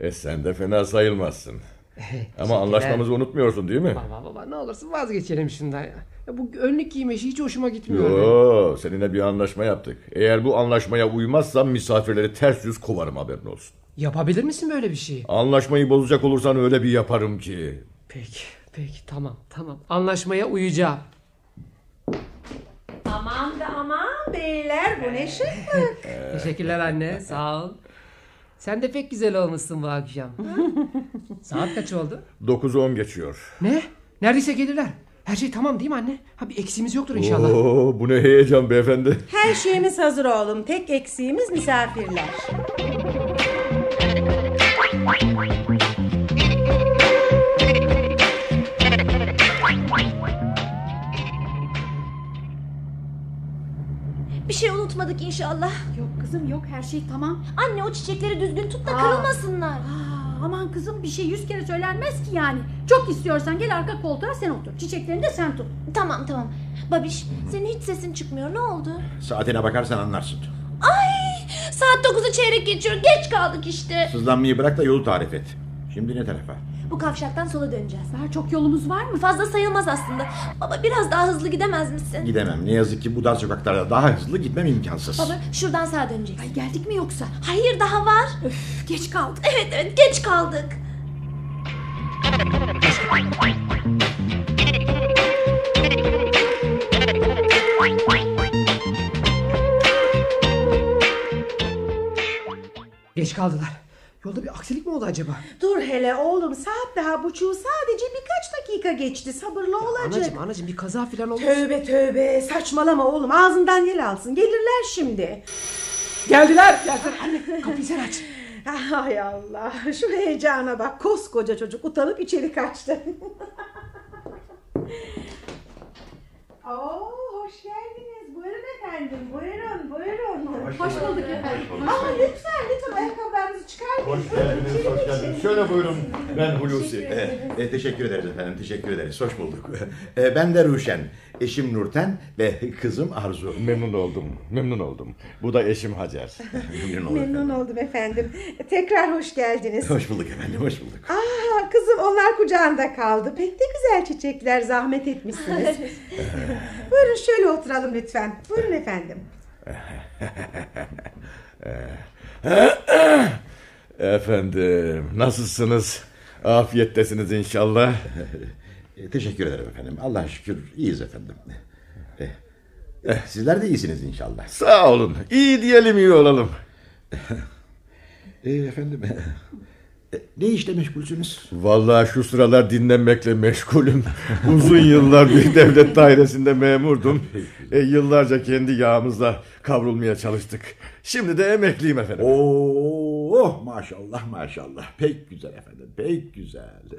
S5: E, sen de fena sayılmazsın. Ama
S3: Teşekkürler.
S5: anlaşmamızı unutmuyorsun değil mi?
S3: Baba baba ne olursun vazgeçelim şundan ya. ya bu önlük giyme işi hiç hoşuma gitmiyor.
S5: Yo, seninle bir anlaşma yaptık. Eğer bu anlaşmaya uymazsan misafirleri ters yüz kovarım haberin olsun.
S3: Yapabilir misin böyle bir şey? şeyi?
S5: Anlaşmayı bozacak olursan öyle bir yaparım ki.
S3: Peki peki tamam tamam. Anlaşmaya uyacağım.
S6: Aman da aman beyler bu ne şıklık.
S5: Ee.
S3: Teşekkürler anne sağ ol. Sen de pek güzel olmuşsun bu akşam. Saat kaç oldu?
S5: 9'u 10 geçiyor.
S3: Ne? Neredeyse gelirler. Her şey tamam değil mi anne? Ha bir eksiğimiz yoktur inşallah.
S5: Oo, bu ne heyecan beyefendi.
S6: Her şeyimiz hazır oğlum. Tek eksiğimiz misafirler.
S4: Bir şey unutmadık inşallah.
S9: Yok kızım yok her şey tamam.
S4: Anne o çiçekleri düzgün tut da kırılmasınlar.
S9: Aa, aman kızım bir şey yüz kere söylenmez ki yani. Çok istiyorsan gel arka koltuğa sen otur. Çiçeklerini de sen tut.
S4: Tamam tamam. Babiş senin hiç sesin çıkmıyor. Ne oldu?
S7: Saatine bakarsan anlarsın.
S4: Ay saat 9'u çeyrek geçiyor. Geç kaldık işte.
S7: Sızlanmayı bırak da yolu tarif et. Şimdi ne tarafa?
S4: Bu kavşaktan sola döneceğiz.
S9: Daha çok yolumuz var mı?
S4: Fazla sayılmaz aslında. Baba biraz daha hızlı gidemez misin?
S7: Gidemem. Ne yazık ki bu dar sokaklarda daha hızlı gitmem imkansız.
S4: Baba şuradan sağa döneceksin.
S9: Ay geldik mi yoksa?
S4: Hayır daha var.
S9: Üf, geç kaldık.
S4: Evet evet geç kaldık.
S3: Geç kaldılar. Yolda bir aksilik mi oldu acaba?
S6: Dur hele oğlum saat daha buçuğu sadece birkaç dakika geçti. Sabırlı olacak.
S3: Anacım anacım bir kaza falan oldu.
S6: Tövbe tövbe saçmalama oğlum ağzından yel alsın. Gelirler şimdi.
S3: Geldiler. Geldiler anne kapıyı sen aç.
S6: Ay Allah şu heyecana bak koskoca çocuk utanıp içeri kaçtı. Oo, hoş geldiniz. Buyurun efendim. Buyurun, buyurun.
S5: Hoş
S6: Hoş
S5: bulduk.
S6: bulduk efendim.
S5: Hoş bulduk.
S6: Ama lütfen lütfen ayakkabılarınızı çıkartın.
S5: Hoş geldiniz,
S6: İçeri
S5: hoş
S6: geçin.
S5: geldiniz. Şöyle buyurun, ben Hulusi.
S6: Teşekkür ederim.
S7: E, teşekkür ederiz efendim, teşekkür ederiz. Hoş bulduk. E, ben de Ruşen, eşim Nurten ve kızım Arzu.
S5: Memnun oldum, memnun oldum. Bu da eşim Hacer. memnun
S6: Memnun oldum efendim. Tekrar hoş geldiniz.
S5: Hoş bulduk efendim, hoş bulduk.
S6: Aa kızım onlar kucağında kaldı. Pek de güzel çiçekler zahmet etmişsiniz.
S7: Eh,
S6: Buyurun şöyle oturalım lütfen. Buyurun efendim.
S5: Eh. efendim, nasılsınız? Afiyettesiniz inşallah.
S7: E, teşekkür ederim efendim. Allah'a şükür iyiyiz efendim. E, e, sizler de iyisiniz inşallah.
S5: Sağ olun, iyi diyelim, iyi olalım.
S7: E, efendim, e, ne işle meşgulsünüz?
S5: Vallahi şu sıralar dinlenmekle meşgulüm. Uzun yıllar bir devlet dairesinde memurdum. E, yıllarca kendi yağımızla kavrulmaya çalıştık. Şimdi de emekliyim efendim.
S7: Oo, oh, maşallah maşallah. Pek güzel efendim, pek güzel.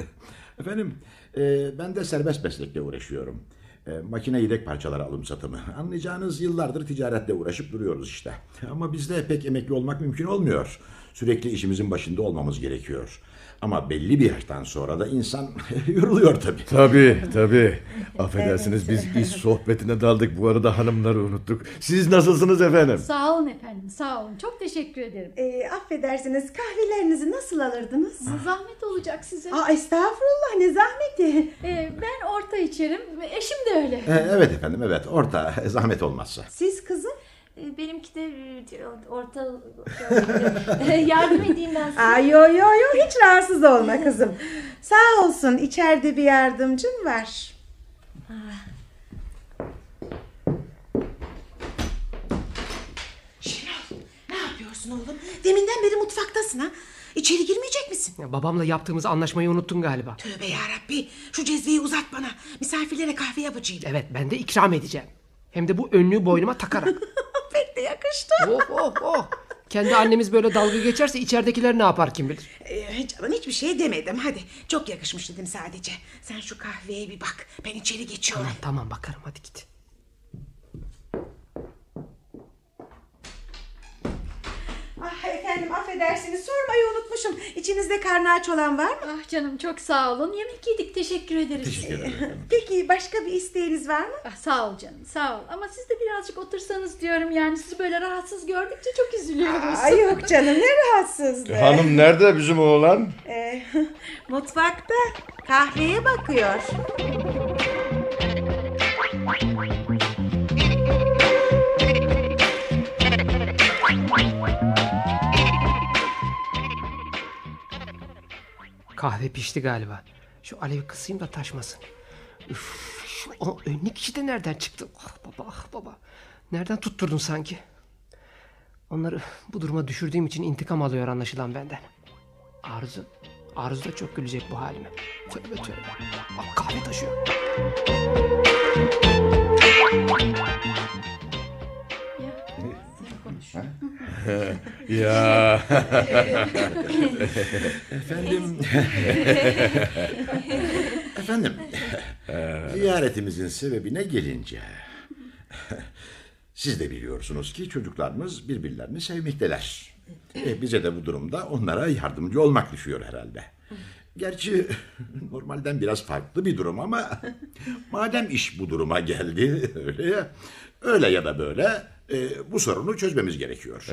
S7: Efendim, e, ben de serbest meslekle uğraşıyorum. E, makine yedek parçaları alım satımı. Anlayacağınız yıllardır ticaretle uğraşıp duruyoruz işte. Ama bizde pek emekli olmak mümkün olmuyor. Sürekli işimizin başında olmamız gerekiyor. Ama belli bir yaştan sonra da insan yoruluyor tabii.
S5: Tabii tabii. Affedersiniz biz iş sohbetine daldık. Bu arada hanımları unuttuk. Siz nasılsınız efendim?
S9: Sağ olun efendim sağ olun. Çok teşekkür ederim.
S6: Ee, affedersiniz kahvelerinizi nasıl alırdınız?
S9: Ah, Zahmet olacak size.
S6: Aa estağfurullah ne zahmeti.
S9: Ee, ben orta içerim. Eşim de öyle.
S7: E, evet efendim, evet. Orta, e, zahmet olmazsa.
S6: Siz kızım?
S4: Benimki de e, orta...
S9: e,
S4: Yardım edeyim ben size.
S6: Aa, yo yo yo hiç rahatsız olma kızım. Sağ olsun içeride bir yardımcın var.
S9: Ah,
S6: Şenol ne yapıyorsun oğlum? Deminden beri mutfaktasın ha. İçeri girmeyecek misin?
S3: Ya babamla yaptığımız anlaşmayı unuttun galiba.
S6: Tövbe yarabbi şu cezveyi uzat bana. Misafirlere kahve yapacağım.
S3: Evet E, ben de ikram edeceğim. Hem de bu önlüğü boynuma takarak.
S6: Pek de yakıştı.
S3: oh oh oh. Kendi annemiz böyle dalga geçerse içeridekiler ne yapar kim bilir.
S6: Ee, canım hiçbir şey demedim hadi. Çok yakışmış dedim sadece. Sen şu kahveye bir bak. Ben içeri geçiyorum.
S3: Tamam bakarım hadi git.
S6: Ah efendim affedersiniz sormayı unutmuşum. İçinizde karnı aç olan var mı?
S9: Ah canım çok sağ olun. Yemek yedik teşekkür ederiz.
S6: Ee, Peki başka bir isteğiniz var mı?
S9: Ah, sağ ol canım sağ ol. Ama siz de birazcık otursanız diyorum yani sizi böyle rahatsız gördükçe çok üzülüyoruz.
S6: Ay yok canım ne rahatsızlığı.
S5: E, Hanım nerede bizim oğlan?
S6: Ee, mutfakta kahveye bakıyor.
S3: Kahve pişti galiba. Şu alevi kısayım da taşmasın. Üf, şu o önlük işi de nereden çıktı? Ah baba ah baba. Nereden tutturdun sanki? Onları bu duruma düşürdüğüm için intikam alıyor anlaşılan benden. Arzu. Arzu da çok gülecek bu halime. Tövbe tövbe. Bak kahve taşıyor.
S5: ya.
S7: Efendim. Efendim. Ziyaretimizin sebebine gelince. Siz de biliyorsunuz ki çocuklarımız birbirlerini sevmekteler. E, bize de bu durumda onlara yardımcı olmak düşüyor herhalde. Gerçi normalden biraz farklı bir durum ama madem iş bu duruma geldi öyle ya, öyle ya da böyle e, bu sorunu çözmemiz gerekiyor.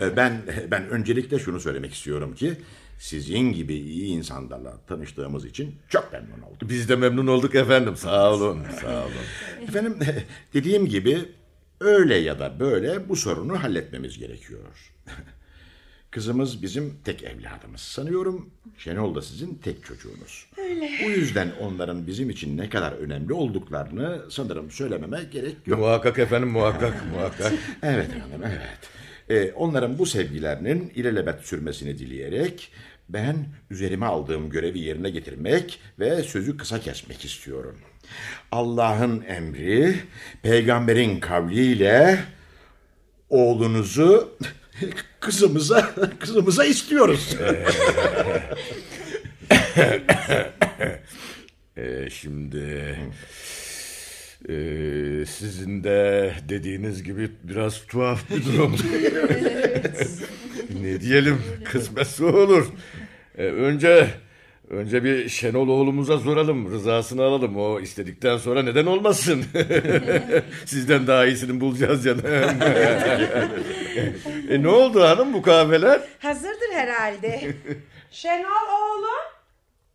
S7: E, ben ben öncelikle şunu söylemek istiyorum ki sizin gibi iyi insanlarla tanıştığımız için çok memnun oldum.
S5: Biz de memnun olduk efendim. Sağ olun. Sağ olun.
S7: Efendim dediğim gibi öyle ya da böyle bu sorunu halletmemiz gerekiyor. Kızımız bizim tek evladımız. Sanıyorum Şenol da sizin tek çocuğunuz. Öyle. Bu yüzden onların bizim için ne kadar önemli olduklarını sanırım söylememe gerek yok.
S5: Muhakkak efendim muhakkak muhakkak.
S7: Evet efendim evet. Ee, onların bu sevgilerinin ilelebet sürmesini dileyerek ben üzerime aldığım görevi yerine getirmek ve sözü kısa kesmek istiyorum. Allah'ın emri, peygamberin kavliyle oğlunuzu kızımıza kızımıza istiyoruz.
S5: Ee, şimdi Ee, sizin de dediğiniz gibi biraz tuhaf bir durum. ne diyelim kısmetse olur. Ee, önce önce bir Şenol oğlumuza soralım rızasını alalım o istedikten sonra neden olmasın. Sizden daha iyisini bulacağız canım. e, ne oldu hanım bu kahveler?
S6: Hazırdır herhalde. Şenol oğlum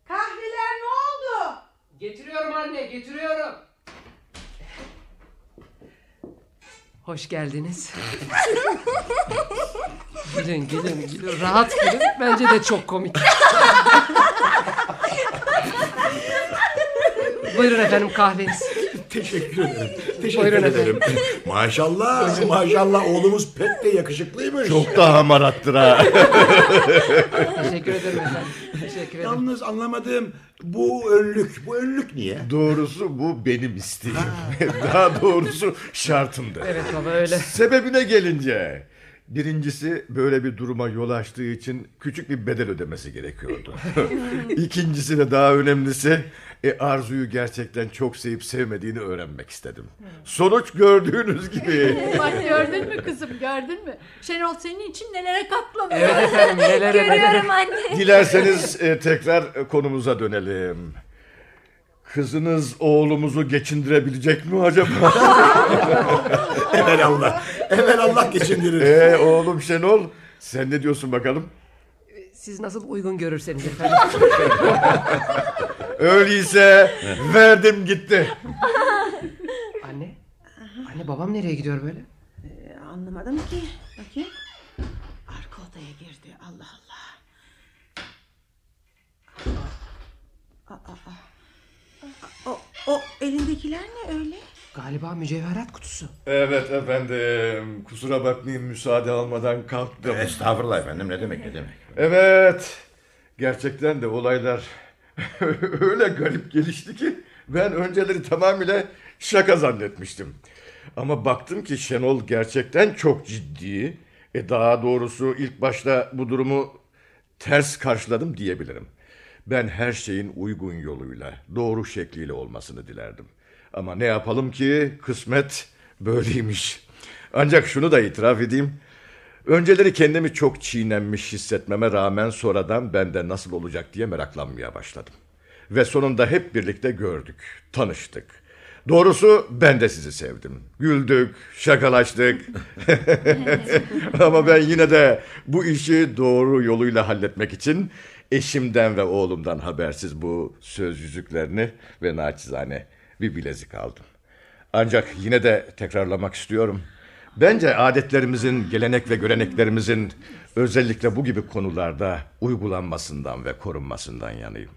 S6: kahveler ne oldu?
S3: Getiriyorum anne getiriyorum. Hoş geldiniz. Gülün gülün gülün. Rahat gülün. Bence de çok komik. Buyurun efendim kahveniz.
S7: Teşekkür ederim. Teşekkür
S3: Buyurun
S7: ederim. maşallah, maşallah oğlumuz pek de yakışıklıymış.
S5: Çok da hamarattır ha.
S3: Teşekkür ederim efendim. Teşekkür ederim.
S7: Yalnız anlamadığım bu önlük, bu önlük niye?
S5: Doğrusu bu benim isteğim. Daha doğrusu şartımdı.
S3: Evet baba öyle.
S5: Sebebine gelince. Birincisi böyle bir duruma yol açtığı için küçük bir bedel ödemesi gerekiyordu. İkincisi de daha önemlisi e, Arzu'yu gerçekten çok sevip sevmediğini öğrenmek istedim.
S3: Hmm.
S5: Sonuç gördüğünüz gibi.
S9: Bak gördün mü kızım gördün mü? Şenol senin için nelere katlanıyor.
S3: Evet efendim neler
S4: Görüyorum anne.
S5: Dilerseniz e, tekrar e, konumuza dönelim. Kızınız oğlumuzu geçindirebilecek mi acaba?
S7: Evel Allah. Evel Allah geçindirir.
S5: Ee oğlum Şenol sen ne diyorsun bakalım?
S3: Siz nasıl uygun görürseniz efendim.
S5: Öyleyse verdim gitti.
S3: Anne. Anne babam nereye gidiyor böyle?
S6: Ee, anlamadım ki. Bakayım. Arka odaya girdi. Allah Allah. Aa, aa, aa. O, o elindekiler ne öyle?
S3: Galiba mücevherat kutusu.
S5: Evet efendim kusura bakmayın müsaade almadan kalktım.
S7: Estağfurullah efendim ne demek ne demek.
S5: Evet gerçekten de olaylar öyle garip gelişti ki ben önceleri tamamıyla şaka zannetmiştim. Ama baktım ki Şenol gerçekten çok ciddi. E daha doğrusu ilk başta bu durumu ters karşıladım diyebilirim. Ben her şeyin uygun yoluyla, doğru şekliyle olmasını dilerdim. Ama ne yapalım ki kısmet böyleymiş. Ancak şunu da itiraf edeyim. Önceleri kendimi çok çiğnenmiş hissetmeme rağmen sonradan bende nasıl olacak diye meraklanmaya başladım. Ve sonunda hep birlikte gördük, tanıştık. Doğrusu ben de sizi sevdim. Güldük, şakalaştık. Ama ben yine de bu işi doğru yoluyla halletmek için eşimden ve oğlumdan habersiz bu söz yüzüklerini ve naçizane bir bilezik aldım. Ancak yine de tekrarlamak istiyorum. Bence adetlerimizin, gelenek ve göreneklerimizin özellikle bu gibi konularda uygulanmasından ve korunmasından yanayım.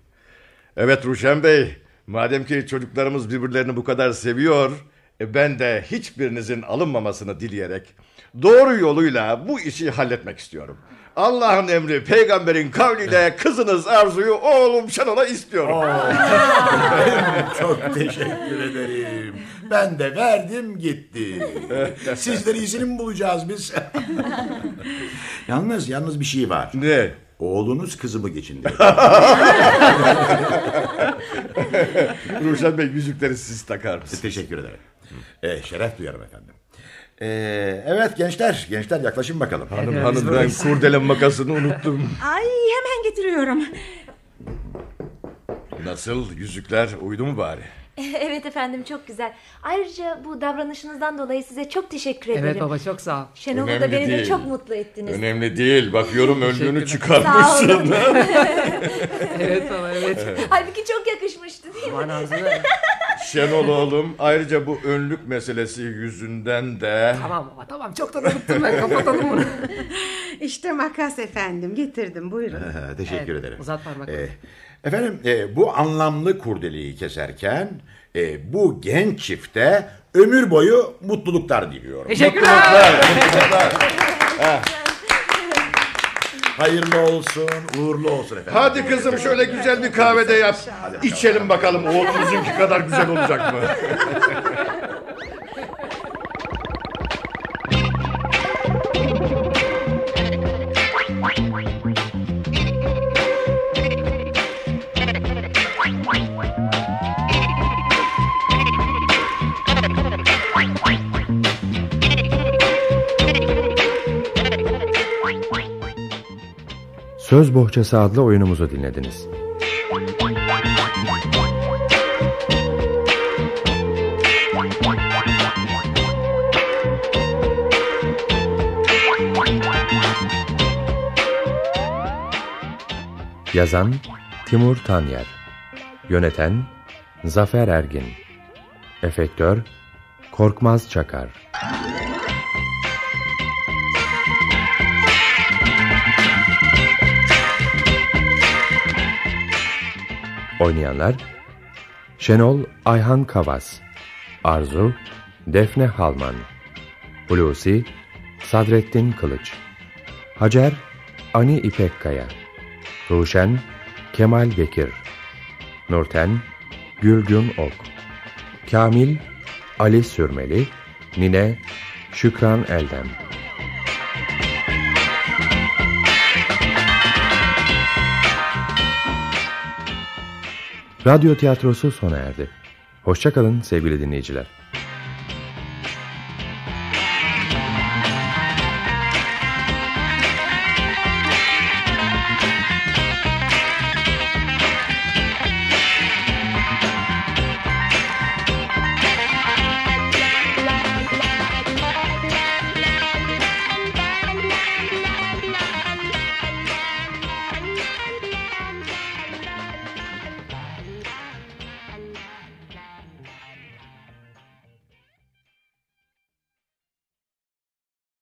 S5: Evet Ruşen Bey, madem ki çocuklarımız birbirlerini bu kadar seviyor, e, ben de hiçbirinizin alınmamasını dileyerek doğru yoluyla bu işi halletmek istiyorum. Allah'ın emri, peygamberin kavliyle kızınız Arzu'yu oğlum Şenol'a istiyorum.
S7: Çok teşekkür ederim. Ben de verdim gitti. Sizleri izini mi bulacağız biz? yalnız yalnız bir şey var.
S5: Ne?
S7: Oğlunuz kızımı geçindi.
S5: Ruşen Bey yüzükleri siz takar mısınız?
S7: teşekkür ederim. Ee, şeref duyarım efendim. Ee, evet gençler, gençler yaklaşın bakalım.
S5: Hanım hanım ben kurdele makasını unuttum.
S6: Ay hemen getiriyorum.
S5: Nasıl yüzükler uydu mu bari?
S4: evet efendim çok güzel. Ayrıca bu davranışınızdan dolayı size çok teşekkür ederim.
S3: Evet baba çok sağ ol.
S4: Şenol'u da
S5: Önemli
S4: beni de
S5: değil.
S4: çok mutlu ettiniz.
S5: Önemli değil. Bakıyorum önlüğünü
S4: Sağ
S5: çıkarmışsın.
S4: olun.
S3: Evet baba evet.
S4: Halbuki çok yakışmıştı değil mi?
S3: Aman ağzına.
S5: Şenol oğlum ayrıca bu önlük meselesi yüzünden de...
S3: Tamam baba tamam çoktan unuttum ben kapatalım bunu.
S6: İşte makas efendim getirdim buyurun.
S7: Ee, teşekkür
S3: Evet,
S7: ederim.
S3: uzat parmaklarını.
S7: Ee, efendim e, bu anlamlı kurdeleyi keserken e, bu genç çifte ömür boyu mutluluklar diliyorum. Ah.
S3: Teşekkürler.
S7: Hayırlı olsun, uğurlu olsun efendim.
S5: Hadi kızım şöyle güzel bir kahvede yap. İçelim bakalım oğlumuzunki kadar güzel olacak mı?
S2: Söz Bohçası adlı oyunumuzu dinlediniz. Yazan Timur Tanyer Yöneten Zafer Ergin Efektör Korkmaz Çakar Oynayanlar Şenol Ayhan Kavas Arzu Defne Halman Hulusi Sadrettin Kılıç Hacer Ani İpekkaya Ruşen Kemal Bekir Nurten Gülgün Ok Kamil Ali Sürmeli Nine Şükran Eldem Radyo tiyatrosu sona erdi. Hoşçakalın sevgili dinleyiciler.